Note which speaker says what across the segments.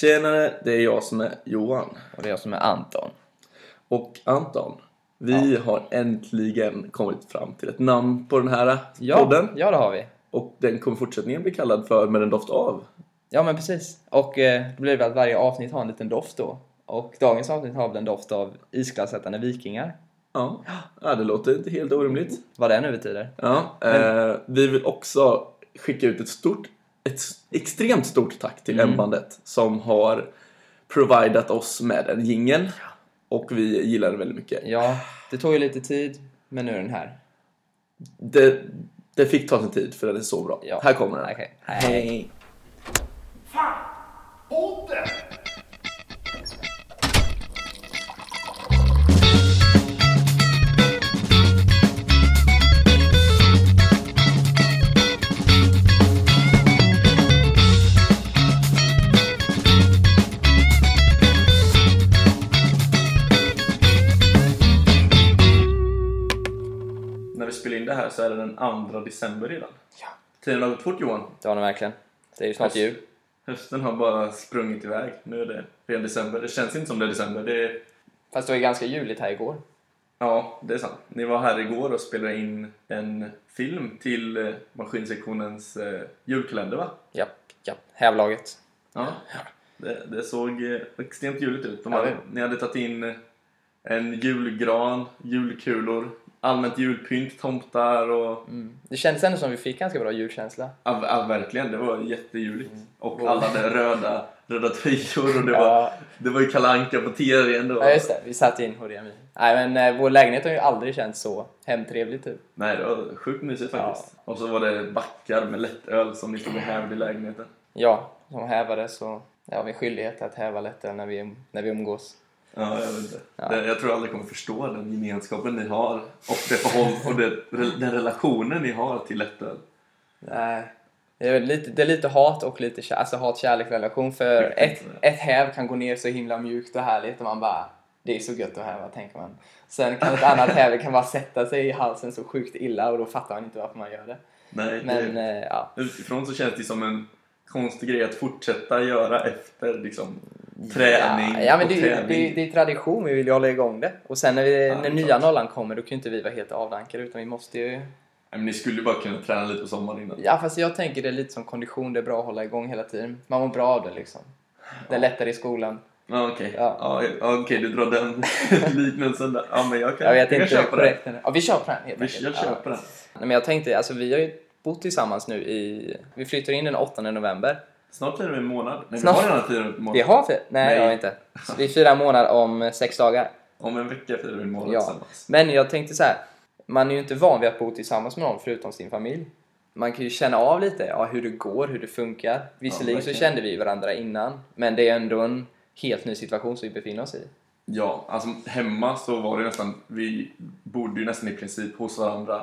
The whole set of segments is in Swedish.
Speaker 1: Tjenare, det är jag som är Johan
Speaker 2: Och det är jag som är Anton.
Speaker 1: och Anton. Vi har äntligen kommit fram till ett namn på den här podden
Speaker 2: ja, det har vi.
Speaker 1: och den kommer fortsättningen bli kallad för Med en doft av.
Speaker 2: Ja, men precis. Och eh, då blir det väl att varje avsnitt har en liten doft då. Och dagens avsnitt har väl en doft av isklassättande vikingar.
Speaker 1: Ja, ja det låter inte helt orimligt.
Speaker 2: Vad det nu betyder.
Speaker 1: Ja, eh, vi vill också skicka ut ett stort, ett s- extremt stort tack till mm. M-bandet som har providat oss med en jingel och vi gillar den väldigt mycket.
Speaker 2: Ja, det tog ju lite tid, men nu är den här.
Speaker 1: Det, det fick ta sin tid för den är så bra.
Speaker 2: Ja.
Speaker 1: Här kommer den.
Speaker 2: Okej. Hej.
Speaker 3: Fan! Podden!
Speaker 1: När vi spelar in det här så är det den 2 december redan.
Speaker 2: Ja.
Speaker 1: Tiden har gått fort Johan.
Speaker 2: Det var den verkligen. Det är ju snart jul.
Speaker 1: Hösten har bara sprungit iväg. Nu är det redan december. Det känns inte som det är december. Det är...
Speaker 2: Fast det var ju ganska juligt här igår.
Speaker 1: Ja, det är sant. Ni var här igår och spelade in en film till eh, Maskinsektionens eh, julkalender va?
Speaker 2: Japp, japp. Hävlaget.
Speaker 1: Ja. Det, det såg eh, extremt juligt ut. De
Speaker 2: Ja,
Speaker 1: hade,
Speaker 2: det-
Speaker 1: ni hade tagit in eh, en julgran, julkulor, allmänt julpynt, tomtar och...
Speaker 2: Det kändes ändå som vi fick ganska bra julkänsla.
Speaker 1: Ja, ja, verkligen. Det var jättejuligt. Och
Speaker 2: Mm. Wow.
Speaker 1: alla hade röda, röda tröjor och det
Speaker 2: Ja.
Speaker 1: var, det var ju Kalle Anka på tvn. Det var,
Speaker 2: Ja, just det. Vi satte in Horemi. Nej, men eh, vår lägenhet har ju aldrig känts så hemtrevlig typ.
Speaker 1: Nej, det var sjukt mysigt faktiskt. Och så var det backar med lättöl som ni stod och hävde i lägenheten.
Speaker 2: Ja, som hävare så ja, har vi skyldighet att häva lättare när vi, när vi umgås.
Speaker 1: Ja, jag vet inte. Det, jag tror jag aldrig kommer förstå den gemenskapen ni har och, det förhåll, och det, den relationen ni har till lättöl.
Speaker 2: Nej. Det är, väl lite, det är lite hat och lite kär, alltså hat-kärlek-relation för ett, ett häv kan gå ner så himla mjukt och härligt och man bara det är så gött att häva, tänker man. Sen kan ett annat häv kan bara sätta sig i halsen så sjukt illa och då fattar man inte varför man gör det.
Speaker 1: Nej,
Speaker 2: Men
Speaker 1: det,
Speaker 2: eh, ja,
Speaker 1: utifrån så känns det som en konstig grej att fortsätta göra efter liksom, träning
Speaker 2: Ja, ja, men
Speaker 1: och
Speaker 2: det, är ju-
Speaker 1: tävling.
Speaker 2: det, är- det är tradition, vi vill ju hålla igång det. Och sen när, vi,
Speaker 1: Ja, det
Speaker 2: när
Speaker 1: är
Speaker 2: nya
Speaker 1: klart.
Speaker 2: nollan kommer då kan ju inte vi vara helt avdankade utan vi måste ju...
Speaker 1: Nej, men ni skulle ju bara kunna träna lite på sommaren innan.
Speaker 2: Ja fast jag tänker det är lite som kondition, det är bra att hålla igång hela tiden. Man mår bra av det liksom. Det är lättare i skolan.
Speaker 1: Ja, okej.
Speaker 2: Ja.
Speaker 1: Ja. Ja, okej, du drar den liknelsen där. Ja, men jag kan,
Speaker 2: Jag vet
Speaker 1: kan
Speaker 2: inte
Speaker 1: köpa den.
Speaker 2: korrekt. Ja, vi kör på den helt
Speaker 1: Vi- Jag köper
Speaker 2: ja.
Speaker 1: den.
Speaker 2: Nej, men jag tänkte, alltså vi har ju bott tillsammans nu i... Vi flyttar in den 8 november.
Speaker 1: Snart är det en månad. Nej,
Speaker 2: Snart.
Speaker 1: vi har redan firat en månad.
Speaker 2: Vi har fyra... Nej,
Speaker 1: Nej.
Speaker 2: jag har inte. Så vi firar månad om eh, sex dagar.
Speaker 1: Om en vecka firar vi en månad
Speaker 2: Ja.
Speaker 1: tillsammans.
Speaker 2: Men jag tänkte så här. Man är ju inte van vid att bo tillsammans med någon förutom sin familj. Man kan ju känna av lite ja, hur det går, hur det funkar. Visserligen så
Speaker 1: verkligen.
Speaker 2: kände vi varandra innan, men det är ändå en helt ny situation som vi befinner oss i.
Speaker 1: Ja, alltså hemma så var det nästan, vi bodde ju nästan i princip hos varandra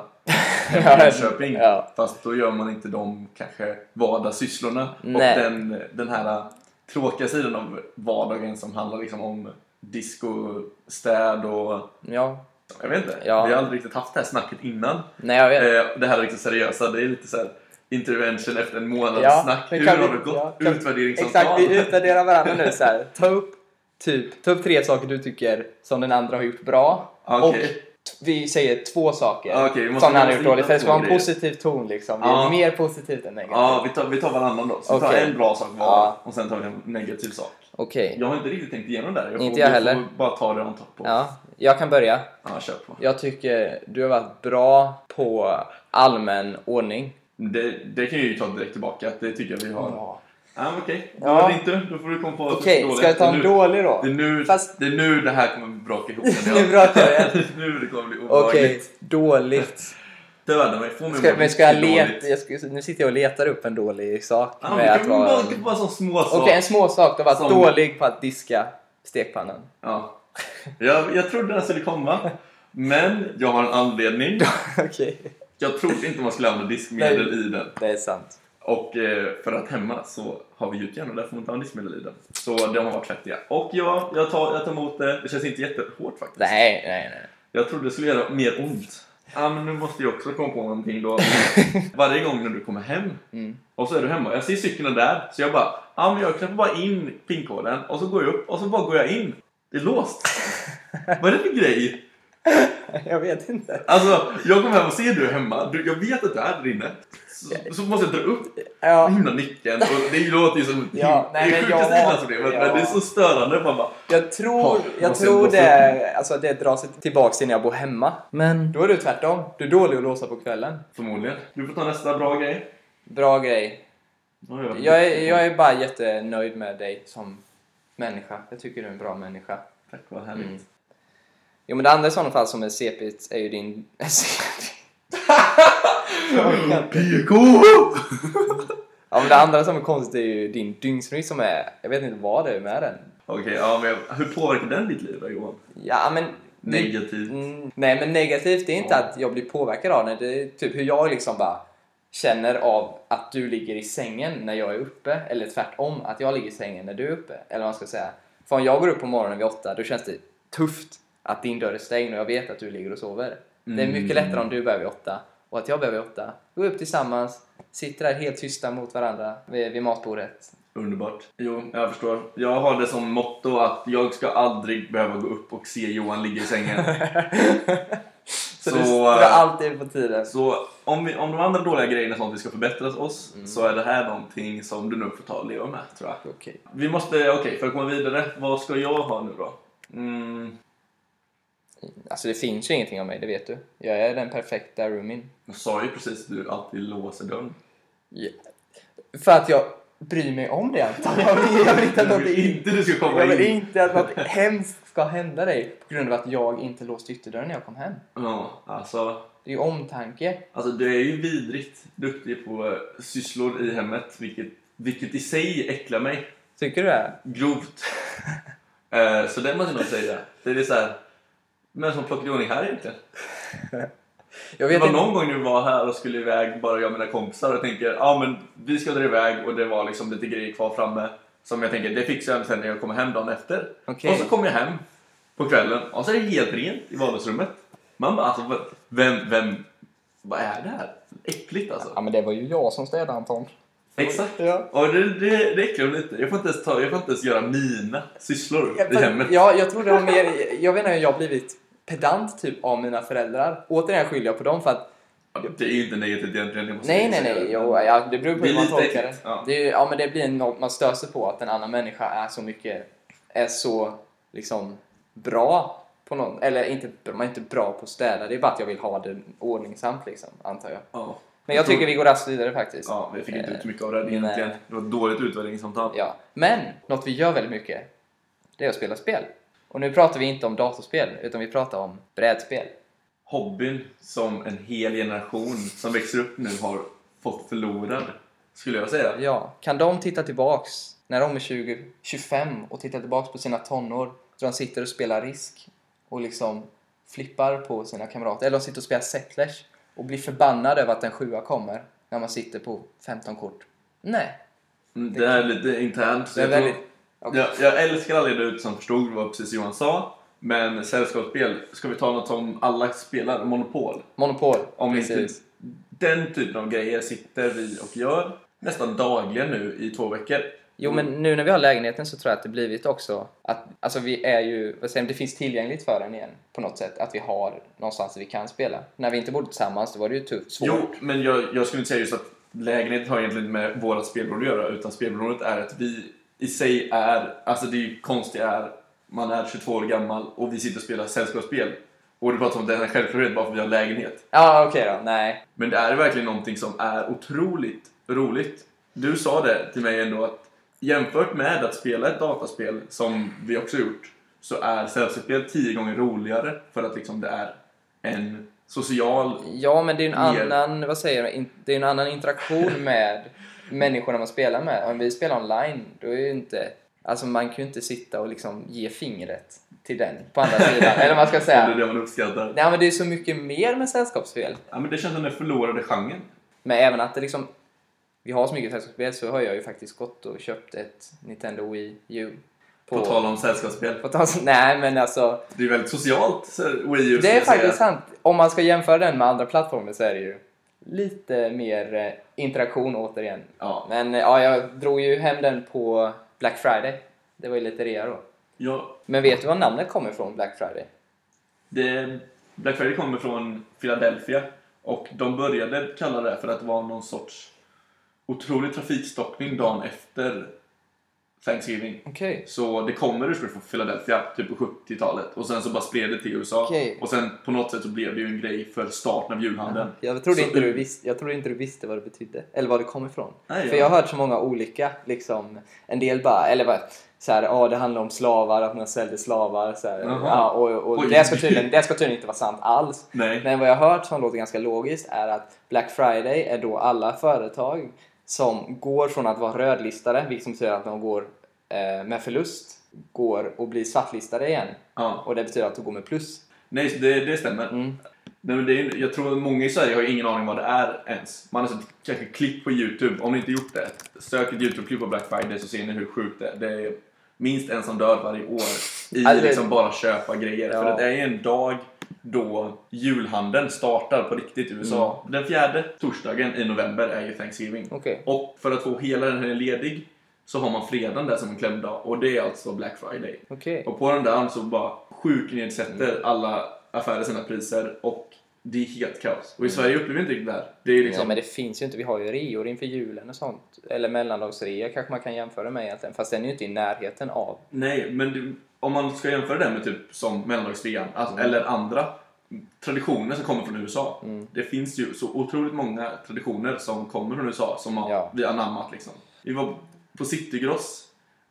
Speaker 1: hemma i
Speaker 2: Ja,
Speaker 1: Jönköping.
Speaker 2: ja.
Speaker 1: Fast då gör man inte de kanske vardagssysslorna
Speaker 2: Nej.
Speaker 1: och den, den här tråkiga sidan av vardagen som handlar liksom om disco, städ och
Speaker 2: Ja,
Speaker 1: jag vet inte.
Speaker 2: Ja.
Speaker 1: Vi har aldrig riktigt haft det här snacket innan.
Speaker 2: nej jag vet.
Speaker 1: Eh, Det här är liksom seriösa, det är lite såhär intervention efter en månads
Speaker 2: Ja,
Speaker 1: snack.
Speaker 2: men
Speaker 1: Hur
Speaker 2: kan
Speaker 1: har
Speaker 2: vi-
Speaker 1: det liksom gått?
Speaker 2: ja, kan-
Speaker 1: Utvärderingsavtal.
Speaker 2: Exakt, vi utvärderar varandra nu så här. Ta upp, typ, ta upp tre saker du tycker som den andra har gjort bra.
Speaker 1: Ah, Okej. Ah,
Speaker 2: Och t- vi säger två saker
Speaker 1: Okej, vi måste-
Speaker 2: som den
Speaker 1: vi
Speaker 2: andra
Speaker 1: måste
Speaker 2: gjort dåligt. För det ska
Speaker 1: hitta
Speaker 2: vara en
Speaker 1: två
Speaker 2: positiv ton liksom. Det är
Speaker 1: Ja.
Speaker 2: mer positivt än negativt.
Speaker 1: Ja, vi tar, vi tar varannan då. Så vi tar
Speaker 2: Okej.
Speaker 1: en bra sak var
Speaker 2: Ja.
Speaker 1: och sen tar vi en negativ sak.
Speaker 2: Okej.
Speaker 1: Jag har inte riktigt tänkt igenom det här. Jag får,
Speaker 2: Inte jag heller.
Speaker 1: får bara ta det on top på.
Speaker 2: Ja, jag kan börja.
Speaker 1: Ja, kör på.
Speaker 2: Jag tycker du har varit bra på allmän ordning.
Speaker 1: Det, det kan jag ju ta direkt tillbaka. Det tycker jag vi har. Ja. men okej. Då
Speaker 2: Mm. Ja.
Speaker 1: är det inte. Då får du komma på vad
Speaker 2: Okej,
Speaker 1: som är
Speaker 2: ska jag ta en
Speaker 1: dåligt.
Speaker 2: dålig då?
Speaker 1: Det är, nu, det, är nu,
Speaker 2: Fast-
Speaker 1: det är nu det här kommer braka ihop.
Speaker 2: Nu brakar det.
Speaker 1: det. nu det kommer bli
Speaker 2: Okej,
Speaker 1: obehagligt.
Speaker 2: dåligt.
Speaker 1: Döda mig. Få mig
Speaker 2: Ska,
Speaker 1: att må
Speaker 2: men ska jag
Speaker 1: riktigt
Speaker 2: leta?
Speaker 1: dåligt.
Speaker 2: Jag ska, nu sitter jag och letar upp en dålig sak.
Speaker 1: Ja,
Speaker 2: med
Speaker 1: men
Speaker 2: att
Speaker 1: kan man bara,
Speaker 2: vara...
Speaker 1: kan bara sån små
Speaker 2: Okej,
Speaker 1: sak.
Speaker 2: en småsak. Du har varit
Speaker 1: Som-
Speaker 2: dålig på att diska stekpannan.
Speaker 1: Ja. Jag, jag trodde den skulle komma. Men jag har en anledning.
Speaker 2: Okej.
Speaker 1: Jag trodde inte man skulle använda diskmedel
Speaker 2: Nej.
Speaker 1: i den.
Speaker 2: Det är sant.
Speaker 1: Och eh, för att hemma så har vi gjutjärn och där får man inte använda diskmedel i den. Så de har varit fettiga. Och ja, jag tar, jag tar emot det. Det känns inte jättehårt faktiskt.
Speaker 2: Nej, nej, nej.
Speaker 1: Jag trodde det skulle göra mer ont. Ja, men nu måste jag också komma på någonting då. Varje gång när du kommer hem
Speaker 2: Mm.
Speaker 1: och så är du hemma. Jag ser cykeln där så jag bara, ja men jag knappar bara in pinkoden och så går jag upp och så bara går jag in. Det är låst. Vad är det för grej?
Speaker 2: Jag vet inte.
Speaker 1: Alltså, jag kommer hem och ser du är hemma. Du, jag vet att du är där inne. Så, så måste jag dra upp den
Speaker 2: Ja,
Speaker 1: himla nyckeln. Och det låter ju som
Speaker 2: Ja, nej,
Speaker 1: det är
Speaker 2: men
Speaker 1: sjukaste
Speaker 2: jag-
Speaker 1: inlandsproblemet.
Speaker 2: ja.
Speaker 1: Men det är så störande. Man bara,
Speaker 2: jag tror,
Speaker 1: Ja,
Speaker 2: jag
Speaker 1: måste
Speaker 2: tror
Speaker 1: jag gå
Speaker 2: det, alltså det drar sig tillbaks till när jag bor hemma. Men då är du tvärtom. Du är dålig att låsa på kvällen.
Speaker 1: förmodligen. Du får ta nästa bra grej.
Speaker 2: Bra grej.
Speaker 1: Ja, ja.
Speaker 2: Jag är, jag är bara jättenöjd med dig som människa. Jag tycker du är en bra människa.
Speaker 1: Tack, vad härligt.
Speaker 2: Mm. Jo men det andra i sådana fall som är CP't är ju din...
Speaker 1: PK!
Speaker 2: ja men det andra som är konstigt är ju din dygnsrytm som är... Jag vet inte vad det är med den.
Speaker 1: Okej, ja, men jag- hur påverkar den ditt liv då, Johan?
Speaker 2: Ja men...
Speaker 1: Negativt.
Speaker 2: Mm, nej men negativt det är inte
Speaker 1: Ja.
Speaker 2: att jag blir påverkad av det. Det är typ hur jag liksom bara känner av att du ligger i sängen när jag är uppe. Eller tvärtom, att jag ligger i sängen när du är uppe. Eller vad man ska säga. För om jag går upp på morgonen vid åtta då känns det tufft att din dörr är stängd och jag vet att du ligger och sover. Det är mycket
Speaker 1: Mm.
Speaker 2: lättare om du börjar vid åtta och att jag börjar vid åtta. Gå upp tillsammans, sitter där helt tysta mot varandra vid, vid matbordet.
Speaker 1: Underbart. Jo, jag förstår. Jag har det som motto att jag ska aldrig behöva gå upp och se Johan ligga i sängen.
Speaker 2: Så,
Speaker 1: Så,
Speaker 2: du står
Speaker 1: eh,
Speaker 2: alltid på tiden.
Speaker 1: så om, vi, om de andra dåliga grejerna är sånt vi ska förbättra oss
Speaker 2: Mm.
Speaker 1: så är det här någonting som du nog får ta och leva med, tror jag.
Speaker 2: Okej.
Speaker 1: Vi måste, okej, för att komma vidare, vad ska jag ha nu då? Mm,
Speaker 2: Alltså det finns ju ingenting av mig, det vet du. Jag är den perfekta roomien.
Speaker 1: jag sa ju precis att du alltid låser dörren.
Speaker 2: För att jag bryr mig om det antar jag. vill- Jag vill inte att
Speaker 1: Jag
Speaker 2: något,
Speaker 1: vill inte du ska komma
Speaker 2: jag vill
Speaker 1: in.
Speaker 2: inte att något hemskt ska hända dig på grund av att jag inte låste ytterdörren när jag kom hem.
Speaker 1: Ja, alltså,
Speaker 2: Det är ju omtanke.
Speaker 1: Alltså du är ju vidrigt duktig på eh, sysslor i hemmet, vilket, vilket i sig äcklar mig
Speaker 2: Tycker du det?
Speaker 1: grovt. Eh, så det måste jag nog säga. Det är så här, men som plockade i ordning här egentligen?
Speaker 2: Jag
Speaker 1: Det
Speaker 2: vet
Speaker 1: var
Speaker 2: inte.
Speaker 1: någon gång du var här och skulle iväg, bara jag och mina kompisar, och tänker ja ah, men vi ska dra iväg och det var liksom lite grejer kvar framme som jag tänker det fixar jag sen när jag kommer hem dagen efter.
Speaker 2: Okej.
Speaker 1: Och så kommer jag hem på kvällen och så är det helt rent i vardagsrummet. Man bara alltså v- vem, vem, vad är det här? Äckligt alltså.
Speaker 2: Ja men det var ju jag som städade Anton.
Speaker 1: Exakt.
Speaker 2: Ja.
Speaker 1: Och det, det, det äcklar mig lite. Jag får inte ens, ta, jag får inte ens göra mina sysslor i hemmet.
Speaker 2: Ja, jag tror det har mer... Jag vet inte hur jag har blivit pedant typ av mina föräldrar. Återigen skyller jag på dem för att
Speaker 1: Det är ju inte negativt egentligen. Jag måste
Speaker 2: Nej, nej,
Speaker 1: säga
Speaker 2: nej.
Speaker 1: det.
Speaker 2: Jo, ja, det beror på
Speaker 1: Det är
Speaker 2: hur man
Speaker 1: lite
Speaker 2: tolkar det.
Speaker 1: äckligt, ja.
Speaker 2: Det, är, ju- ja, men det blir en norm man stör sig på, att en annan människa är så mycket, är så liksom bra på någon, eller inte, man är inte bra på att städa, det är bara att jag vill ha det ordningsamt liksom, antar jag.
Speaker 1: Ja.
Speaker 2: Men jag tycker vi går raskt vidare faktiskt.
Speaker 1: Ja, vi fick inte ut mycket av det egentligen.
Speaker 2: Eh, nej.
Speaker 1: Det var ett dåligt utvärderingssamtal.
Speaker 2: Ja. Men, något vi gör väldigt mycket, det är att spela spel. Och nu pratar vi inte om datorspel, utan vi pratar om brädspel.
Speaker 1: Hobbyn som en hel generation som växer upp nu har fått förlorad, skulle jag säga.
Speaker 2: Ja, kan de titta tillbaks när de är 20, 25 och titta tillbaks på sina tonår så de sitter och spelar risk och liksom flippar på sina kamrater eller de sitter och spelar settlers och blir förbannade över att en sjua kommer när man sitter på 15 kort. Nej.
Speaker 1: Mm, Det här är lite internt. Så
Speaker 2: Det är
Speaker 1: jag, tror,
Speaker 2: väldigt- Okej.
Speaker 1: jag, jag älskar alla er ut som förstod vad precis Johan sa. Men sällskapsspel, ska vi ta något som alla spelar? Monopol?
Speaker 2: Monopol.
Speaker 1: Om inte
Speaker 2: precis.
Speaker 1: den typen av grejer sitter vi och gör nästan dagligen nu i två veckor.
Speaker 2: Jo men nu när vi har lägenheten så tror jag att det blivit också att alltså vi är ju, vad säger man, det finns tillgängligt för en igen på något sätt att vi har någonstans vi kan spela. När vi inte bodde tillsammans då var det ju tufft, svårt.
Speaker 1: Jo, men jag, jag skulle inte säga just att lägenheten har egentligen inte med vårat spelberoende att göra utan spelberoendet är att vi i sig är, alltså det är ju konstigt är, man är 22 år gammal och vi sitter och spelar sällskapsspel. Och du pratar om det här självklarhet bara för att vi har lägenhet.
Speaker 2: Ja okej då, nej.
Speaker 1: Men det är verkligen någonting som är otroligt roligt. Du sa det till mig ändå att jämfört med att spela ett dataspel, som vi också gjort, så är sällskapsspel tio gånger roligare för att liksom det är en social...
Speaker 2: Ja, men det är en
Speaker 1: Mer.
Speaker 2: annan, vad säger jag, in- det är en annan interaktion med människorna man spelar med. Om vi spelar online, då är ju inte, alltså man kan ju inte sitta och liksom ge fingret till den på andra sidan, eller vad man ska
Speaker 1: Det är
Speaker 2: säga.
Speaker 1: det man uppskattar.
Speaker 2: Nej, men det är så mycket mer med sällskapsspel.
Speaker 1: Ja, men det känns som den förlorade genren.
Speaker 2: Men även att det liksom, vi har så mycket sällskapsspel så har jag ju faktiskt gått och köpt ett Nintendo Wii U.
Speaker 1: På tal om sällskapsspel.
Speaker 2: på tal om... Nej, men alltså.
Speaker 1: Det är väldigt socialt, så Wii U.
Speaker 2: Det är
Speaker 1: skulle jag
Speaker 2: faktiskt
Speaker 1: säga.
Speaker 2: sant. Om man ska jämföra den med andra plattformar så är det ju lite mer eh, interaktion återigen.
Speaker 1: Ja.
Speaker 2: Men eh, ja, jag drog ju hem den på Black Friday. Det var ju lite rea då.
Speaker 1: Ja,
Speaker 2: Men vet du var namnet kommer ifrån, Black Friday?
Speaker 1: det, Black Friday kommer från Philadelphia och de började kalla det för att det var någon sorts otrolig trafikstockning dagen efter Thanksgiving.
Speaker 2: Okej.
Speaker 1: Så det kommer ursprungligen från Philadelphia, typ på 70-talet. Och sen så bara spred det till USA.
Speaker 2: Okej.
Speaker 1: Och sen på något sätt så blev det ju en grej för starten av julhandeln.
Speaker 2: Jag trodde,
Speaker 1: Så-
Speaker 2: inte du visste, jag trodde inte du visste vad det betydde, eller var det kom ifrån.
Speaker 1: Nej, ja.
Speaker 2: För jag har hört så många olika, liksom, en del bara, eller bara så här, ja det handlar om slavar, att man säljde slavar. Så här,
Speaker 1: Jaha.
Speaker 2: ja, och och
Speaker 1: Oj.
Speaker 2: det, ska tydligen, det ska tydligen inte vara sant alls.
Speaker 1: Nej.
Speaker 2: Men vad jag har hört som låter ganska logiskt är att Black Friday är då alla företag som går från att vara rödlistade, vilket som betyder att de går eh, med förlust, går och blir svartlistade igen.
Speaker 1: Ja.
Speaker 2: Och det betyder att de går med plus.
Speaker 1: Nej, så det, det stämmer.
Speaker 2: Mm.
Speaker 1: Nej, men det är, jag tror att många i Sverige har ingen aning vad det är ens. Man har sett kanske klipp på Youtube. Om ni inte gjort det, sök ett Youtube-klipp på Black Friday så ser ni hur sjukt det är. Det är minst en som dör varje år i
Speaker 2: Alltså-
Speaker 1: liksom bara köpa grejer.
Speaker 2: Ja.
Speaker 1: För det är ju en dag då julhandeln startar på riktigt i
Speaker 2: Mm.
Speaker 1: USA. Den fjärde torsdagen i november är ju Thanksgiving.
Speaker 2: Okej.
Speaker 1: Och för att få hela den här ledig så har man fredagen där som en klämdag och det är alltså Black Friday.
Speaker 2: Okej.
Speaker 1: Och på den där så bara sjuknedsätter alla affärer sina priser och det är helt kaos. Och i Sverige upplever vi inte riktigt det här. Det är ju
Speaker 2: Nej,
Speaker 1: liksom...
Speaker 2: men det finns ju inte. Vi har ju reor inför julen och sånt. Eller mellandagsrea kanske man kan jämföra med egentligen. Fast den är ju inte i närheten av.
Speaker 1: Nej, men du, om man ska jämföra det med typ som mellandagsrean alltså, eller andra traditioner som kommer från USA. Det finns ju så otroligt många traditioner som kommer från USA som har,
Speaker 2: Ja.
Speaker 1: vi har anammat liksom. Vi var på Citygross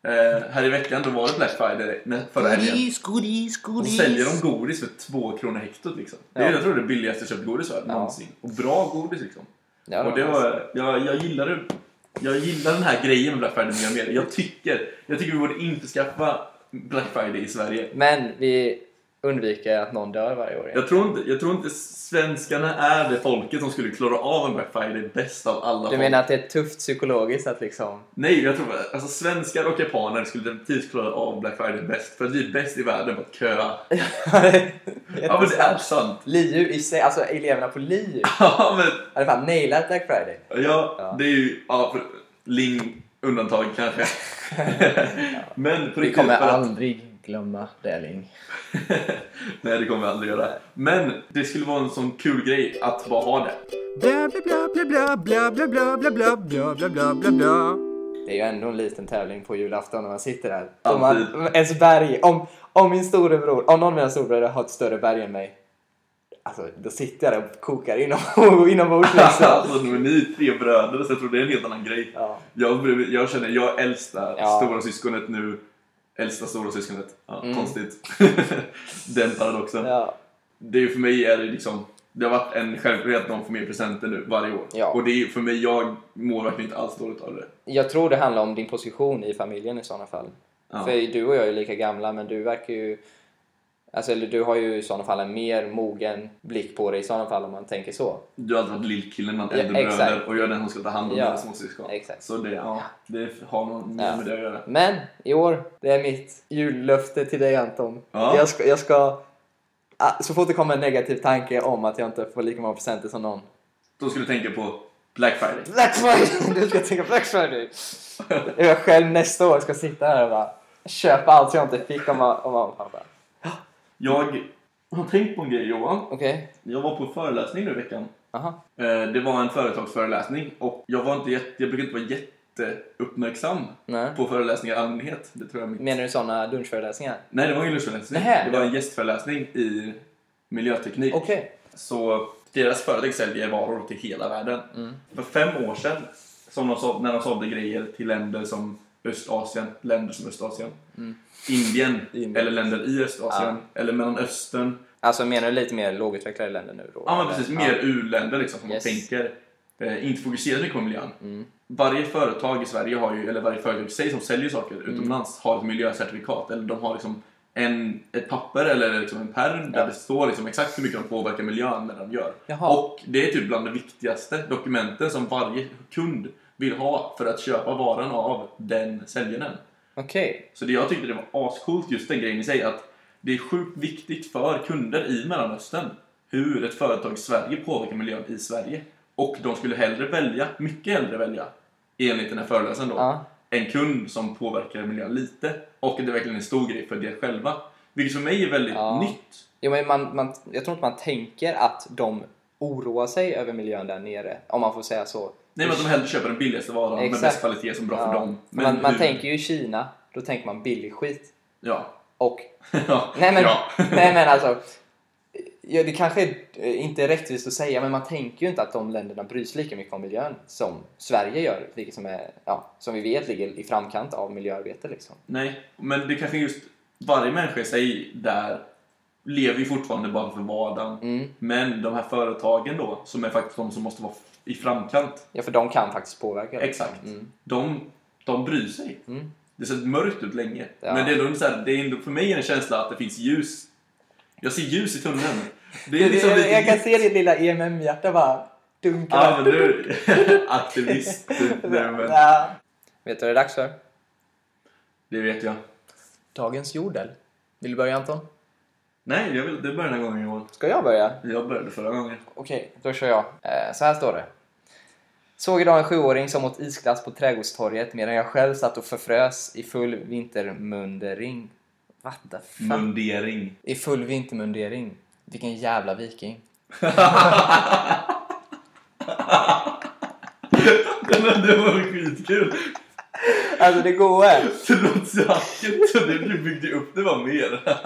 Speaker 1: eh, här i veckan, då var det Black Friday nä- förra helgen.
Speaker 4: godis,
Speaker 1: Och så
Speaker 4: godis.
Speaker 1: säljer de godis för två kronor hektot liksom. Det är
Speaker 2: Ja.
Speaker 1: jag tror det billigaste köpt godis jag har någonsin. Och bra godis liksom.
Speaker 2: Ja, alltså.
Speaker 1: Och det var, jag, jag gillar det. Jag gillar den här grejen med Black Friday mer och mer. Jag tycker, jag tycker vi borde införskaffa Black Friday i Sverige.
Speaker 2: Men vi undviker att någon dör varje år. igen.
Speaker 1: Jag tror, inte, jag tror inte svenskarna är det folket som skulle klara av en Black Friday bäst av alla
Speaker 2: Du
Speaker 1: folk.
Speaker 2: menar att det är tufft psykologiskt att liksom...
Speaker 1: Nej, jag tror alltså svenskar och japaner skulle definitivt klara av Black Friday bäst. För att vi är bäst i världen på att köa. Ja men det är sant.
Speaker 2: LiU i sig, alltså eleverna på LiU
Speaker 1: Ja men
Speaker 2: hade fan nailat Black Friday.
Speaker 1: Ja,
Speaker 2: Ja.
Speaker 1: det är ju... Ja, för, Ling undantag kanske. Men på
Speaker 2: Vi
Speaker 1: riktigt,
Speaker 2: kommer
Speaker 1: för att-
Speaker 2: aldrig glömma det Ling.
Speaker 1: Nej, det kommer vi aldrig göra. Men det skulle vara en sån kul grej att bara ha det.
Speaker 4: Bla, bla, bla, bla, bla, bla, bla, bla, bla, bla, bla, bla, bla, bla.
Speaker 2: Det är ju ändå en liten tävling på julafton när man sitter där. Om
Speaker 1: Alltid.
Speaker 2: man, ens berg, om, om min storebror, om någon av mina storebröder har ett större berg än mig. Alltså, då sitter jag där och kokar inom, inombords liksom.
Speaker 1: Alltså, nu är ni tre bröder, så jag tror det är en helt annan grej.
Speaker 2: Ja.
Speaker 1: Jag, bryr- jag känner, jag är äldsta
Speaker 2: Ja. Mm.
Speaker 1: stora syskonet nu. Äldsta stora syskonet. Ja, Konstigt. Den paradoxen.
Speaker 2: Ja.
Speaker 1: Det är ju för mig är det liksom det har varit en självklarhet att de får mer presenter nu varje år.
Speaker 2: Ja.
Speaker 1: Och det är ju för mig, jag mår verkligen inte alls dåligt av det.
Speaker 2: Jag tror det handlar om din position i familjen i sådana fall.
Speaker 1: Ja.
Speaker 2: För du och jag är lika gamla men du verkar ju... Alltså, eller du har ju i sådana fall en mer mogen blick på dig i sådana fall om man tänker så.
Speaker 1: Du har alltid varit lillkillen bland
Speaker 2: Ja,
Speaker 1: äldre bröder
Speaker 2: exakt.
Speaker 1: och jag är den som ska ta hand om
Speaker 2: Ja,
Speaker 1: dina småsyskon.
Speaker 2: exakt.
Speaker 1: Så det, ja, det har nog mer
Speaker 2: Ja.
Speaker 1: med det att göra.
Speaker 2: Men i år, det är mitt jullöfte till dig Anton.
Speaker 1: Ja.
Speaker 2: Jag ska... Jag ska ah, så fort det kommer en negativ tanke om att jag inte får lika många presenter som någon.
Speaker 1: Då ska du tänka på Black Friday.
Speaker 2: Black Friday! Du ska tänka Black Friday! Jag själv nästa år ska sitta här och bara köpa allt jag inte fick av ma- av mamma och pappa.
Speaker 1: Jag har tänkt på en grej Johan.
Speaker 2: Okej,
Speaker 1: Jag var på en föreläsning nu i veckan.
Speaker 2: aha.
Speaker 1: Eh, Det var en företagsföreläsning och jag, var inte jätte, jag brukar inte vara jätteuppmärksam
Speaker 2: Nej.
Speaker 1: på föreläsningar i allmänhet. Det tror jag är mitt
Speaker 2: Menar du sådana lunchföreläsningar?
Speaker 1: Nej, det var ingen lunchföreläsning.
Speaker 2: Nähä.
Speaker 1: Det var en gästföreläsning i miljöteknik.
Speaker 2: Okej.
Speaker 1: Så deras företag säljer varor till hela världen.
Speaker 2: Mm.
Speaker 1: För fem år sedan, som de såld, när de sålde grejer till länder som Östasien, länder som Östasien, Indien,
Speaker 2: Mm. Indien.
Speaker 1: eller länder i Östasien, eller Mellanöstern.
Speaker 2: Alltså menar du lite mer lågutvecklade länder nu då?
Speaker 1: Ja, men
Speaker 2: eller?
Speaker 1: precis. Mer u-länder liksom, som
Speaker 2: Yes. Mm.
Speaker 1: man tänker. Eh, inte fokuserar mycket på miljön. Varje företag i Sverige har ju, eller varje företag i sig som säljer saker
Speaker 2: Mm.
Speaker 1: utomlands har ett miljöcertifikat. Eller de har liksom en, ett papper eller liksom en pärm där
Speaker 2: Ja.
Speaker 1: det står liksom exakt hur mycket de påverkar miljön när de gör.
Speaker 2: Jaha.
Speaker 1: Och det är typ bland de viktigaste dokumenten som varje kund vill ha för att köpa varan av den säljaren.
Speaker 2: Okej.
Speaker 1: Så det jag tyckte det var ascoolt just den grejen i sig att det är sjukt viktigt för kunder i Mellanöstern hur ett företag i Sverige påverkar miljön i Sverige. Och de skulle hellre välja, mycket hellre välja, enligt den här föreläsaren då,
Speaker 2: Ja.
Speaker 1: en kund som påverkar miljön lite och att det verkligen är en stor grej för det själva. Vilket för mig är väldigt
Speaker 2: Ja.
Speaker 1: nytt.
Speaker 2: Jo, men man, man, jag tror inte man tänker att de oroar sig över miljön där nere, om man får säga så.
Speaker 1: Nej, men att de hellre köper den billigaste varan
Speaker 2: Exakt.
Speaker 1: med bäst kvalitet som är bra för
Speaker 2: Ja.
Speaker 1: dem. Men
Speaker 2: man, man
Speaker 1: hur-
Speaker 2: tänker ju i Kina, då tänker man billig skit.
Speaker 1: Ja.
Speaker 2: Och,
Speaker 1: ja.
Speaker 2: nej men,
Speaker 1: ja.
Speaker 2: nej, men alltså, ja, det kanske är, eh, inte är rättvist att säga, men man tänker ju inte att de länderna bryr sig lika mycket om miljön som Sverige gör, vilket som, är, ja, som vi vet ligger i framkant av miljöarbete. Liksom.
Speaker 1: Nej, men det kanske är just varje människa i sig där lever ju fortfarande bara för vardagen.
Speaker 2: Mm.
Speaker 1: Men de här företagen då, som är faktiskt de som måste vara i framkant,
Speaker 2: Ja, för de kan faktiskt påverka. liksom.
Speaker 1: Exakt.
Speaker 2: Mm.
Speaker 1: de, de bryr sig.
Speaker 2: Mm.
Speaker 1: Det ser mörkt ut länge.
Speaker 2: Ja.
Speaker 1: Men det är, ändå så här, det är ändå för mig en känsla att det finns ljus. Jag ser ljus i tunneln. Det är
Speaker 2: Jag,
Speaker 1: liksom lite...
Speaker 2: jag kan se ditt lilla EMM-hjärta bara dunka.
Speaker 1: Ja, men du... Aktivist. typ. Nej, men...
Speaker 2: Ja. Vet du vad det är dags för?
Speaker 1: Det vet jag.
Speaker 2: Dagens jordel. Vill du börja Anton?
Speaker 1: Nej, jag vill... det börjar den här gången Johan.
Speaker 2: Ska jag börja?
Speaker 1: Jag började förra gången.
Speaker 2: Okej, då kör jag. Eh, så här står det. Såg idag en sjuåring som åt isglass på Trädgårdstorget medan jag själv satt och förfrös i full vintermundering. What the fuck?
Speaker 1: Mundering.
Speaker 2: Mm. I full vintermundering. Vilken jävla viking.
Speaker 1: Den där, det var skitkul!
Speaker 2: Alltså det går.
Speaker 1: Det låter så hackigt så det du byggde upp det var mer.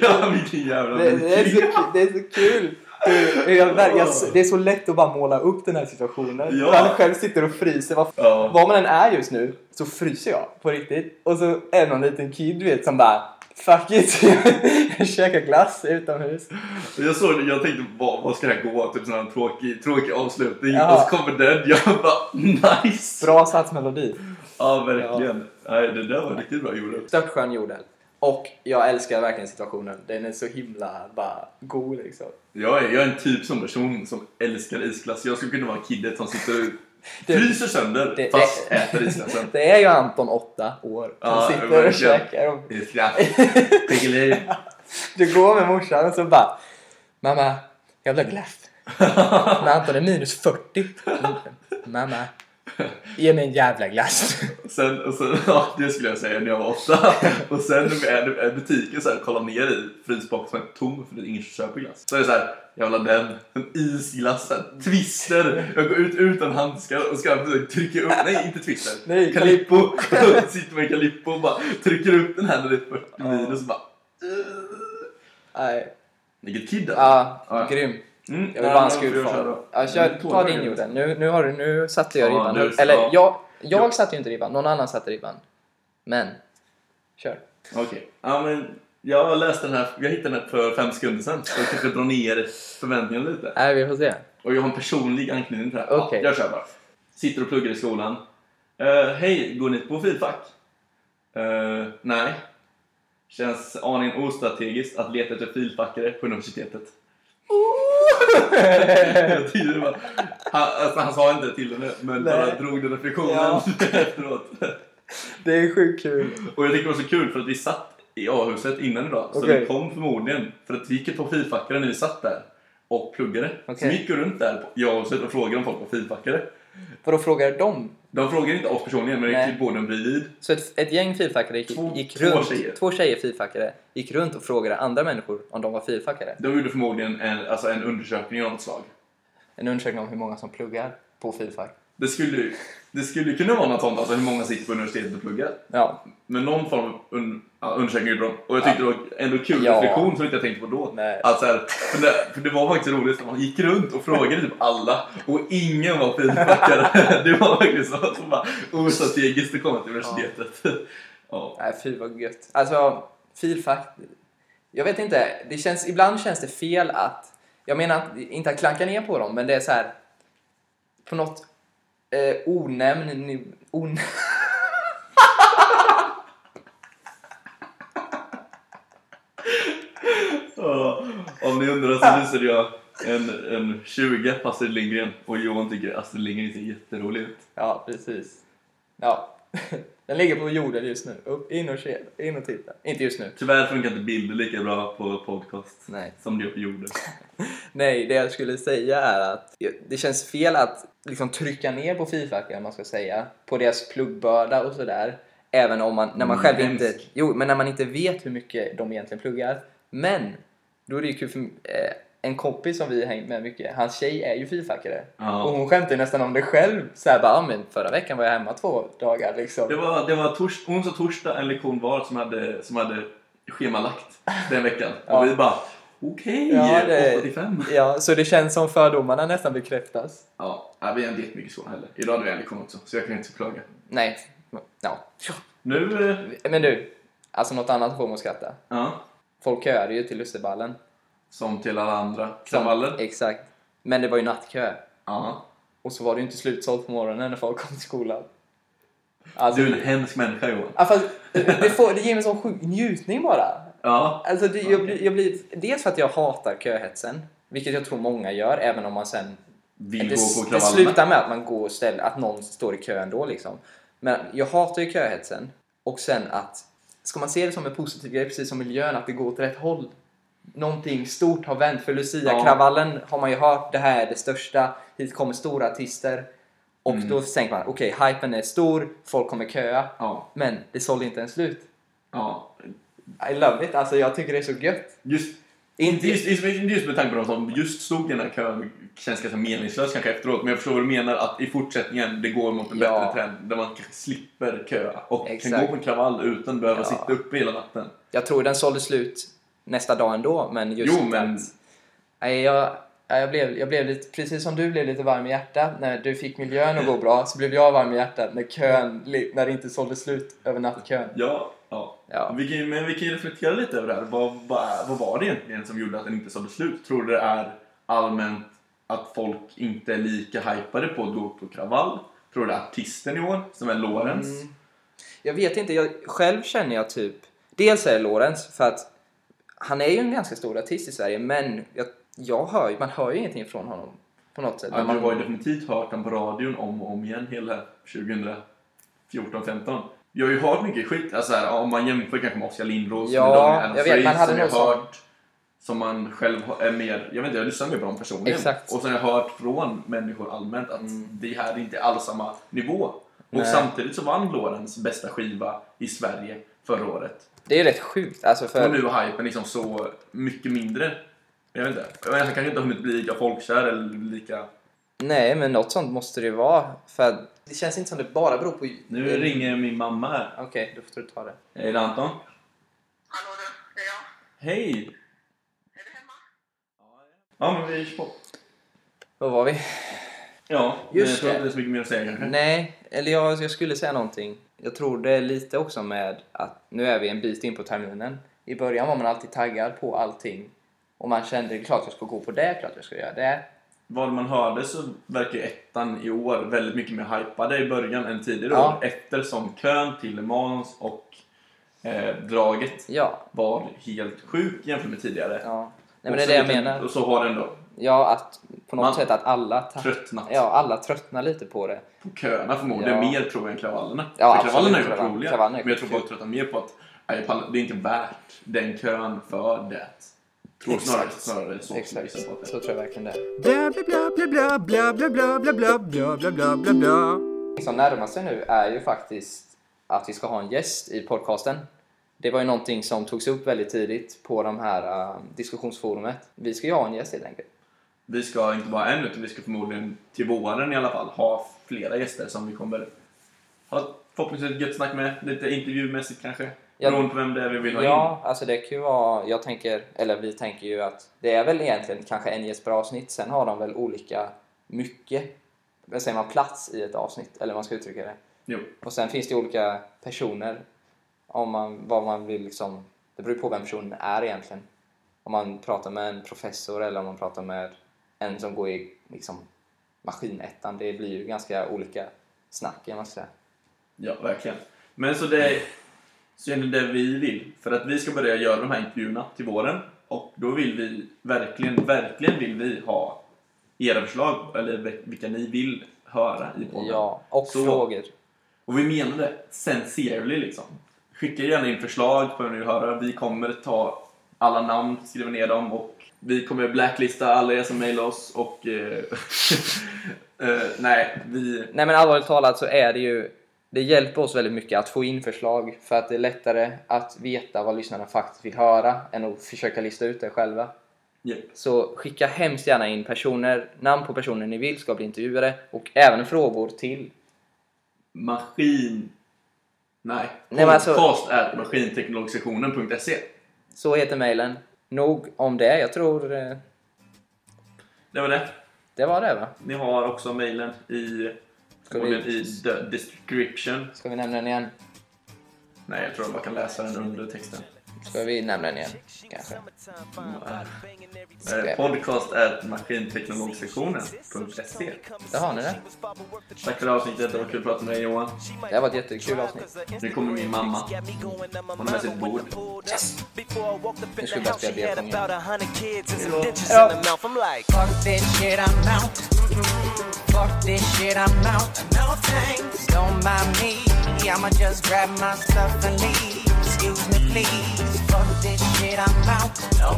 Speaker 1: ja, vilken jävla
Speaker 2: Det, det, är, så,
Speaker 1: viking.
Speaker 2: ku- det är så kul. Hur- hur jag, ver- jag, s- det är så lätt att bara måla upp den här situationen.
Speaker 1: Ja.
Speaker 2: Man själv sitter och fryser. Vad
Speaker 1: Ja.
Speaker 2: Var man än är just nu så fryser jag på riktigt. Och så är det någon liten kid du vet som bara Fuck it! jag käkar glass utomhus.
Speaker 1: Jag såg det, jag tänkte vad, vad ska det här gå? Typ sån här tråkig, tråkig avslutning.
Speaker 2: Ja.
Speaker 1: Och så kommer den. Jag bara nice!
Speaker 2: Bra satsmelodi.
Speaker 1: Ja, verkligen. Nej, det där var riktigt bra gjort.
Speaker 2: Störtskön jorden. Och jag älskar verkligen situationen. Den är så himla bara god liksom.
Speaker 1: Jag är, jag är en typ som person som älskar isglass. Jag skulle kunna vara kidet som sitter och fryser sönder
Speaker 2: det-
Speaker 1: fast
Speaker 2: det-
Speaker 1: äter isglassen.
Speaker 2: Det är ju Anton, åtta år, som
Speaker 1: Ja,
Speaker 2: sitter och
Speaker 1: verkligen.
Speaker 2: käkar. Och
Speaker 1: Isglass. Pickeliv.
Speaker 2: du går med morsan och så bara Mamma, jag vill ha glass. Men Anton är minus 40. Mamma, ge mig en jävla glass.
Speaker 1: Sen, och sen, ja, det skulle jag säga när jag var åtta. Och sen när vi är- när vi är i butiken så här, kollar ner i frysboxen tom för det är ingen som köper glass. Så är det så här, jag vill ha den, en isglass, så här, twister. Jag går ut utan handskar och ska försöka trycka upp, nej inte twister,
Speaker 2: Nej,
Speaker 1: Calippo. Sitter med Calippo och bara trycker upp den här när det är 40 minus och bara...
Speaker 2: Nej.
Speaker 1: Vilket kid alltså.
Speaker 2: Ja,
Speaker 1: Ja.
Speaker 2: grym.
Speaker 1: Mm,
Speaker 2: Jag vill
Speaker 1: nej,
Speaker 2: bara ha en
Speaker 1: men får jag köra
Speaker 2: skurfar.
Speaker 1: då?
Speaker 2: Ja, kör,
Speaker 1: Mm,
Speaker 2: ta
Speaker 1: tårta
Speaker 2: din
Speaker 1: är det.
Speaker 2: jorden. Nu, nu, har du, nu satte jag
Speaker 1: Ja,
Speaker 2: ribban.
Speaker 1: nu-
Speaker 2: Eller
Speaker 1: ja.
Speaker 2: jag, jag
Speaker 1: Ja.
Speaker 2: satte ju inte ribban, någon annan satte ribban. Men, kör.
Speaker 1: Okej. Ja, men jag läste den här, jag hittade den här för fem sekunder sedan. Så jag tänkte dra ner förväntningarna lite.
Speaker 2: Nej, vi får se.
Speaker 1: Och jag har en personlig anknytning till det här. Ja,
Speaker 2: Okej.
Speaker 1: jag kör bara. Sitter och pluggar i skolan. Eh, Hej, går ni på filfack? Eh, nej. Känns aningen ostrategiskt att leta efter filfackare på universitetet. jag tyckte det var... Han, alltså, han sa inte det till henne, men
Speaker 2: Nej.
Speaker 1: bara drog den reflektionen
Speaker 2: Ja.
Speaker 1: efteråt.
Speaker 2: Det är sjukt kul.
Speaker 1: Och jag tyckte det var så kul för att vi satt i A-huset innan idag. Så
Speaker 2: Okej.
Speaker 1: vi kom förmodligen, för att vi gick ett par filfackare när vi satt där och pluggade. Så
Speaker 2: Okej.
Speaker 1: vi gick runt där på i A-huset och frågade om folk var filfackare.
Speaker 2: För då frågade dem.
Speaker 1: De frågade inte oss personligen, men det
Speaker 2: Nej.
Speaker 1: gick både en bredvid.
Speaker 2: Så ett, ett gäng fyrfackare gick,
Speaker 1: Två-
Speaker 2: gick
Speaker 1: två
Speaker 2: runt,
Speaker 1: tjejer.
Speaker 2: två tjejer fyrfackare, gick runt och frågade andra människor om de var fyrfackare.
Speaker 1: De gjorde förmodligen en, alltså en undersökning av något slag.
Speaker 2: En undersökning om hur många som pluggar på fyrfack.
Speaker 1: Det skulle, det skulle kunna vara något sånt, alltså hur många sitter på universitetet och pluggar.
Speaker 2: Ja.
Speaker 1: Men någon form av un, ja, undersökning gjorde de. Och jag tyckte det var ändå kul
Speaker 2: Ja.
Speaker 1: reflektion som inte jag tänkte på då.
Speaker 2: Nej.
Speaker 1: Att så här, för, det, för det var faktiskt roligt, för man gick runt och frågade typ alla och ingen var feedbackare. det var verkligen så att man bara ostrategiskt att komma till universitetet. Ja.
Speaker 2: Nej, fy vad gött. Alltså, filfack... Jag vet inte. Det känns, ibland känns det fel att... Jag menar att, inte att klanka ner på dem, men det är så här... På något eh, onämnd... niv- On...
Speaker 1: Ja. Om ni undrar så visade jag en, en 20 på Astrid Lindgren och Johan tycker Astrid Lindgren ser jätterolig ut.
Speaker 2: Ja, precis. Ja. Den ligger på jorden just nu. Upp, in och se, in och titta. Inte just nu.
Speaker 1: Tyvärr funkar inte bilder lika bra på podcast
Speaker 2: Nej.
Speaker 1: som det gör på jorden.
Speaker 2: Nej, det jag skulle säga är att det känns fel att liksom trycka ner på Fifa, eller vad man ska säga, på deras pluggbörda och sådär. Även om man, när man själv inte,
Speaker 1: Mm, hemskt.
Speaker 2: jo, men när man inte vet hur mycket de egentligen pluggar. Men, då är det ju kul för eh, en kompis som vi har hängt med mycket, hans tjej är ju Fifa-kare.
Speaker 1: Ja.
Speaker 2: Och hon skämtar ju nästan om det själv. Såhär bara, "Ja, men förra veckan var jag hemma två dagar liksom.
Speaker 1: Det var, det var tors, onsdag och torsdag en lektion var som hade, som hade schemalagt den veckan.
Speaker 2: Ja.
Speaker 1: Och vi bara okej,
Speaker 2: Ja, det-
Speaker 1: 8.45.
Speaker 2: Ja, så det känns som fördomarna nästan bekräftas.
Speaker 1: Ja, nej, vi har inte jättemycket så heller. Idag hade vi en lektion också, så jag kan inte klaga.
Speaker 2: Nej, ja.
Speaker 1: Nu, eh,
Speaker 2: Men du, alltså något annat får man skratta.
Speaker 1: ja,
Speaker 2: Folk köade ju till Lusseballen.
Speaker 1: som till alla andra
Speaker 2: Som-
Speaker 1: kravaller.
Speaker 2: Exakt. Men det var ju nattkö.
Speaker 1: Ja.
Speaker 2: Och så var det ju inte slutsålt på morgonen när folk kom till skolan. Alltså,
Speaker 1: Du är en hemsk människa Johan.
Speaker 2: ja, fast, det, får, det ger mig en sån sjuk njutning bara.
Speaker 1: Ja,
Speaker 2: Alltså, det, jag, blir, jag blir... Dels för att jag hatar köhetsen, vilket jag tror många gör, även om man sen...
Speaker 1: vill
Speaker 2: Det,
Speaker 1: gå på
Speaker 2: det
Speaker 1: kravallerna.
Speaker 2: slutar med att man går och ställer, att någon står i kö ändå liksom. Men jag hatar ju köhetsen. Och sen att... Ska man se det som en positiv grej, precis som miljön, att det går åt rätt håll? någonting stort har vänt. För Lucia-kravallen har man ju hört, det här är det största, hit kommer stora artister. Och
Speaker 1: Mm.
Speaker 2: då tänker man, okej, hypen är stor, folk kommer köa.
Speaker 1: Ja,
Speaker 2: Men det sålde inte ens slut.
Speaker 1: ja.
Speaker 2: I love it, alltså jag tycker det är så gött.
Speaker 1: Just,
Speaker 2: Inte
Speaker 1: Just, just, just med tanke på de som just stod i den här kön känns ganska meningslöst kanske efteråt. Men jag förstår vad du menar att i fortsättningen det går mot en
Speaker 2: Ja.
Speaker 1: bättre trend där man kanske slipper köa och
Speaker 2: Exakt.
Speaker 1: kan gå på en kravall utan att behöva
Speaker 2: Ja.
Speaker 1: sitta uppe hela natten.
Speaker 2: Jag tror den sålde slut nästa dag ändå, men just
Speaker 1: Jo, men-
Speaker 2: att... Nej, jag, ja, jag, blev, jag blev lite, precis som du blev lite varm i hjärtat när du fick miljön att gå bra, så blev jag varm i hjärtat när kön, li- när det inte sålde slut över nattkön.
Speaker 1: Ja, ja.
Speaker 2: Ja.
Speaker 1: Vi kan, men vi kan ju reflektera lite över det här. Vad, vad, vad var det egentligen som gjorde att den inte sa beslut? Tror du det är allmänt att folk inte är lika hypade på att gå på kravall? Tror du det är artisten i år, som är Lorenz?
Speaker 2: Jag vet inte, jag, själv känner jag typ... Dels är det Lorenz, för att han är ju en ganska stor artist i Sverige, men jag, jag hör ju, man hör ju ingenting från honom på något sätt.
Speaker 1: Ja,
Speaker 2: Men
Speaker 1: man
Speaker 2: man,
Speaker 1: har ju definitivt hört den på radion om och om igen hela 2014-15. Jag har ju hört mycket skit, alltså här, om man jämför kanske med Oskar Lindros
Speaker 2: Ja,
Speaker 1: med Daniel
Speaker 2: jag vet, man hade
Speaker 1: som jag
Speaker 2: någon sån-
Speaker 1: hört som man själv har- är mer, jag vet inte, jag lyssnar mer på dem personligen.
Speaker 2: Exakt. Mm.
Speaker 1: Och sen har jag hört från människor allmänt att det här är inte alls samma nivå. Och
Speaker 2: Nej.
Speaker 1: samtidigt så vann Lorens bästa skiva i Sverige förra året.
Speaker 2: det är ju rätt sjukt, alltså
Speaker 1: Och
Speaker 2: för...
Speaker 1: nu är hypen liksom så mycket mindre. Jag vet inte, jag menar, han kanske inte har hunnit bli lika folkkär eller lika
Speaker 2: Nej, men något sånt måste det ju vara, för att- Det känns inte som det bara beror på...
Speaker 1: Nu ringer min mamma här.
Speaker 2: Okej, då får du ta det.
Speaker 1: Är det Anton?
Speaker 5: Hallå du, det är jag.
Speaker 1: Hej!
Speaker 5: Är du hemma?
Speaker 1: Ja, men vi kör på.
Speaker 2: Vad var vi?
Speaker 1: Ja, men
Speaker 2: Just
Speaker 1: jag tror
Speaker 2: det.
Speaker 1: inte det är så mycket mer att säga kanske.
Speaker 2: Nej, eller jag, jag skulle säga någonting. Jag tror det är lite också med att nu är vi en bit in på terminen. I början var man alltid taggad på allting. Och man kände, det är klart jag ska gå på det, klart jag ska göra det.
Speaker 1: Vad man hörde så verkar ju ettan i år väldigt mycket mer hypade i början än tidigare
Speaker 2: Ja.
Speaker 1: år. Eftersom kön till Le Mans och eh, draget
Speaker 2: Ja.
Speaker 1: var helt sjuk jämfört med tidigare.
Speaker 2: ja. Nej men
Speaker 1: Och
Speaker 2: det är
Speaker 1: så
Speaker 2: det jag
Speaker 1: lite-
Speaker 2: menar.
Speaker 1: Och så har den då
Speaker 2: Ja, att på något
Speaker 1: Man-
Speaker 2: sätt att alla, ta-
Speaker 1: tröttnat
Speaker 2: ja, alla tröttnar lite på det.
Speaker 1: på köerna förmodligen.
Speaker 2: Ja.
Speaker 1: Mer tror jag än kravallerna.
Speaker 2: Ja,
Speaker 1: För kravallerna är
Speaker 2: absolut,
Speaker 1: ju
Speaker 2: kravallerna-
Speaker 1: otroliga.
Speaker 2: kravallerna är
Speaker 1: Men jag tror
Speaker 2: sjukt
Speaker 1: folk tröttnar mer på att nej, jag pallar- det är inte värt den kön för det. Tror snarare, snarare så.
Speaker 2: Exakt. Så tror jag verkligen det är.
Speaker 4: Bla bla bla bla bla bla bla bla bla bla bla bla bla bla.
Speaker 2: Det som närmar sig nu är ju faktiskt att vi ska ha en gäst i podcasten. Det var ju någonting som togs upp väldigt tidigt på de här eh, diskussionsforumet. Vi ska ju ha en gäst helt enkelt.
Speaker 1: Vi ska inte bara en utan vi ska förmodligen till våren i alla fall ha flera gäster som vi kommer ha ett förhoppningsvis ett gött snack med. Lite intervjumässigt kanske.
Speaker 2: Ja.
Speaker 1: Beroende på vem det är vi vill ha in.
Speaker 2: Ja, alltså det kan ju vara, jag tänker, eller vi tänker ju att det är väl egentligen kanske en gäst per avsnitt, sen har de väl olika mycket, vad säger man, plats i ett avsnitt, eller hur man ska uttrycka det.
Speaker 1: Jo.
Speaker 2: Och sen finns det olika personer, om man, vad man vill liksom, det beror ju på vem personen är egentligen. Om man pratar med en professor eller om man pratar med en som går i liksom maskinettan, det blir ju ganska olika snack, jag måste säga.
Speaker 1: Ja, verkligen. Men så det är så är det det vi vill. För att vi ska börja göra de här intervjuerna till våren. Och då vill vi, verkligen, verkligen vill vi ha era förslag. Eller vilka ni vill höra i podden.
Speaker 2: Ja, och
Speaker 1: Så-
Speaker 2: frågor.
Speaker 6: Och vi menade sincerely liksom. Skicka gärna in förslag på hur ni vill höra. Vi kommer ta alla namn, skriva ner dem och vi kommer blacklista alla er som mejlar oss och... Eh, eh, nej, vi...
Speaker 2: Nej men allvarligt talat så är det ju Det hjälper oss väldigt mycket att få in förslag För att det är lättare att veta vad lyssnarna faktiskt vill höra Än att försöka lista ut det själva
Speaker 6: Ja.
Speaker 2: Så skicka hemskt gärna in personer Namn på personer ni vill ska bli intervjuade Och även frågor till
Speaker 6: Maskin... Nej.
Speaker 2: Nej, men alltså-
Speaker 6: Podcast är maskinteknologisektionen.se.
Speaker 2: Så heter mejlen Nog om det, jag tror eh,
Speaker 6: Det var det.
Speaker 2: Det var det va?
Speaker 6: Ni har också mejlen i...
Speaker 2: Ska vi-
Speaker 6: förmodligen I the description.
Speaker 2: Ska vi nämna den igen?
Speaker 6: Nej, jag tror att man kan läsa den under texten.
Speaker 2: Ska vi nämna den igen? Kanske
Speaker 6: Eh, Podcast är maskinteknologsektionen.se.
Speaker 2: Där har ni det
Speaker 6: Tack för det här avsnittet, det var kul att prata med dig Johan.
Speaker 2: Det här var ett jättekul avsnitt
Speaker 6: Nu kommer min mamma. Hon har med sitt bord.
Speaker 2: Nu ska vi bara spela det på en gång.
Speaker 7: Fuck this shit, I'm out. Mm-mm. Fuck this shit, I'm out. No thanks, don't mind me. I'ma just grab my stuff and leave. Excuse me, please. Fuck this shit, I'm out. No.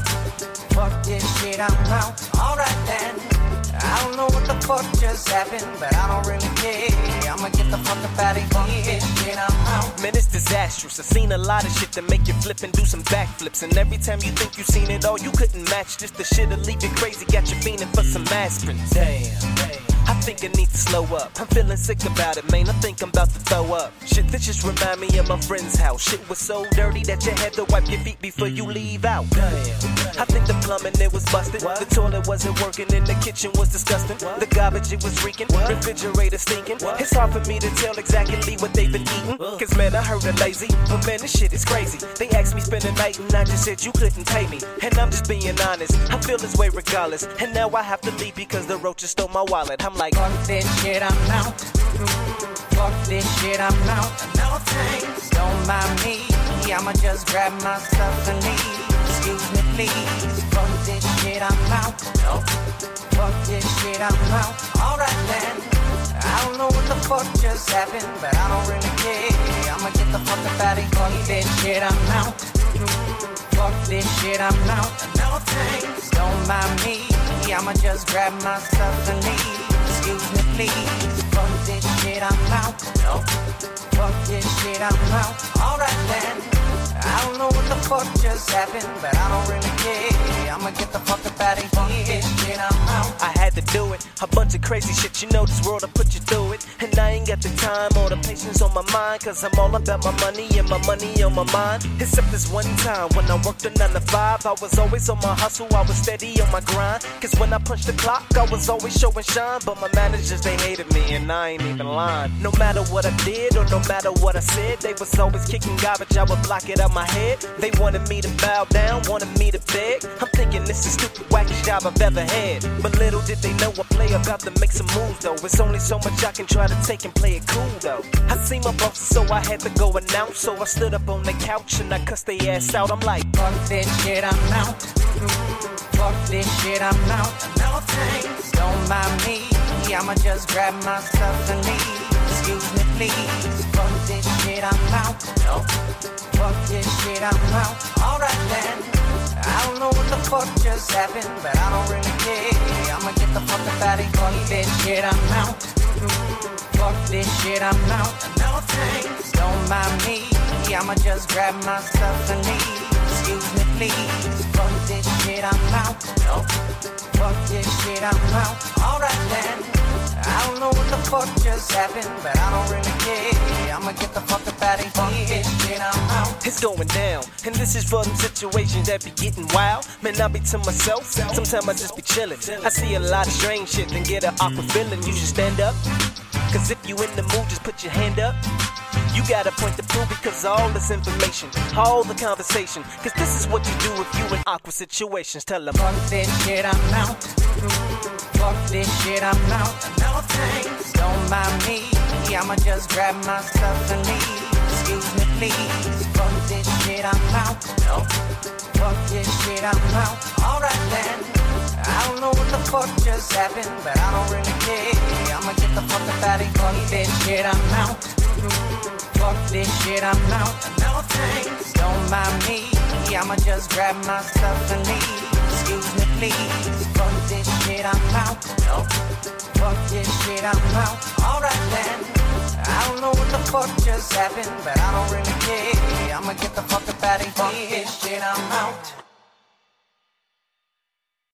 Speaker 7: Fuck this shit, I'm out. Alright then. I don't know what the fuck just happened, but I don't really care. I'ma get the fuck up out of here. Fuck this shit, I'm out.
Speaker 8: Man, it's disastrous. I've seen a lot of shit that make you flip and do some backflips. And every time you think you've seen it all, you couldn't match this. The shit'll leave you crazy, got you fiending for some aspirin. Damn. I think I need to slow up. I'm feeling sick about it, man. I think I'm about to throw up. Shit, this just remind me of my friend's house. Shit was so dirty that you had to wipe your feet before you leave out. I think the plumbing it was busted. The toilet wasn't working and the kitchen was disgusting. The garbage it was reeking. Refrigerator stinking. It's hard for me to tell exactly what they've been eating. Cause man, I heard a lazy. But man, this shit is crazy. They asked me spend the night and I just said you couldn't pay me. And I'm just being honest. I feel this way regardless. And now I have to leave because the roaches stole my wallet. I'm like,
Speaker 7: Fuck this shit, I'm out. Fuck this shit, I'm out. No thanks, don't mind me. I'ma just grab my stuff and leave. Excuse me, please. Fuck this shit, I'm out. No. Fuck this shit, I'm out. Alright then. I don't know what the fuck just happened, but I don't really care. I'ma get the fuck up out of here. Fuck this shit, I'm out. Fuck this shit, I'm out. No thanks, don't mind me. I'ma just grab my stuff and leave. Excuse me, please. Fuck this shit, I'm out. No. Fuck this shit, I'm out. Alright then. I don't know what the fuck just happened, but I don't really care. I'ma get the fuck up out of here. Fuck this shit, I'm out.
Speaker 8: I had to do it. A bunch of crazy shit, you know this world I put you through it. And I ain't got the time or the patience on my mind. Cause I'm all about my money and my money on my mind. Except this one time when I worked a 9 to 5. I was always on my hustle, I was steady on my grind. Cause when I punched the clock, I was always showing shine. But my managers, they hated me and I ain't even lying. No matter what I did or no matter what I said, they was always kicking garbage, I would block it out my head. They wanted me to bow down, wanted me to beg. I'm thinking this is stupid, wackest job I've ever had. But little did they know I play about to make some moves though. It's only so much I can try to take and play it cool though. I seen my boss, so I had to go announce. So I stood up on the couch and I cussed their ass out. I'm like,
Speaker 7: Fuck this shit, I'm out. Fuck this shit, I'm out. No thanks, don't mind me. I'ma just grab my stuff and leave. Excuse me, please. Fuck this shit, I'm out. No. Fuck this shit, I'm out. Alright then. I don't know what the fuck just happened, but I don't really care. I'ma get the fuck up out of here. Fuck this shit, I'm out. Fuck this shit, I'm out. No thanks, don't mind me. I'ma just grab my stuff and leave. Excuse me, please. Fuck this shit, I'm out. No. Fuck this shit, I'm out. Alright then. I don't know what the fuck just happened, but I don't really care. I'ma get the fuck up out of here. Fuck this shit, I'm out.
Speaker 8: it's going down. And this is for them situations that be getting wild. Man, I be to myself. Sometimes I just be chilling. I see a lot of strange shit and get an awkward feeling. You should stand up. Cause if you in the mood, just put your hand up. You got a point to prove because all this information, all the conversation. Cause this is what you do if you in awkward situations. Tell them.
Speaker 7: Fuck this shit, I'm out. Fuck this shit, I'm out. No thanks, don't mind me. I'ma just grab my stuff and leave. Excuse me, please. Fuck this shit, I'm out. No. Fuck this shit, I'm out. Alright then. I don't know what the fuck just happened, but I don't really care. I'ma get the fuck up out of here. Fuck this shit, I'm out. Fuck this shit, I'm out. No thanks. Don't mind me. I'ma just grab my stuff and leave. Excuse me, please. Fuck this shit, I'm out. No. Fuck this shit, I'm out. Alright then. I don't know what the fuck just happened, but I don't really care. I'ma get the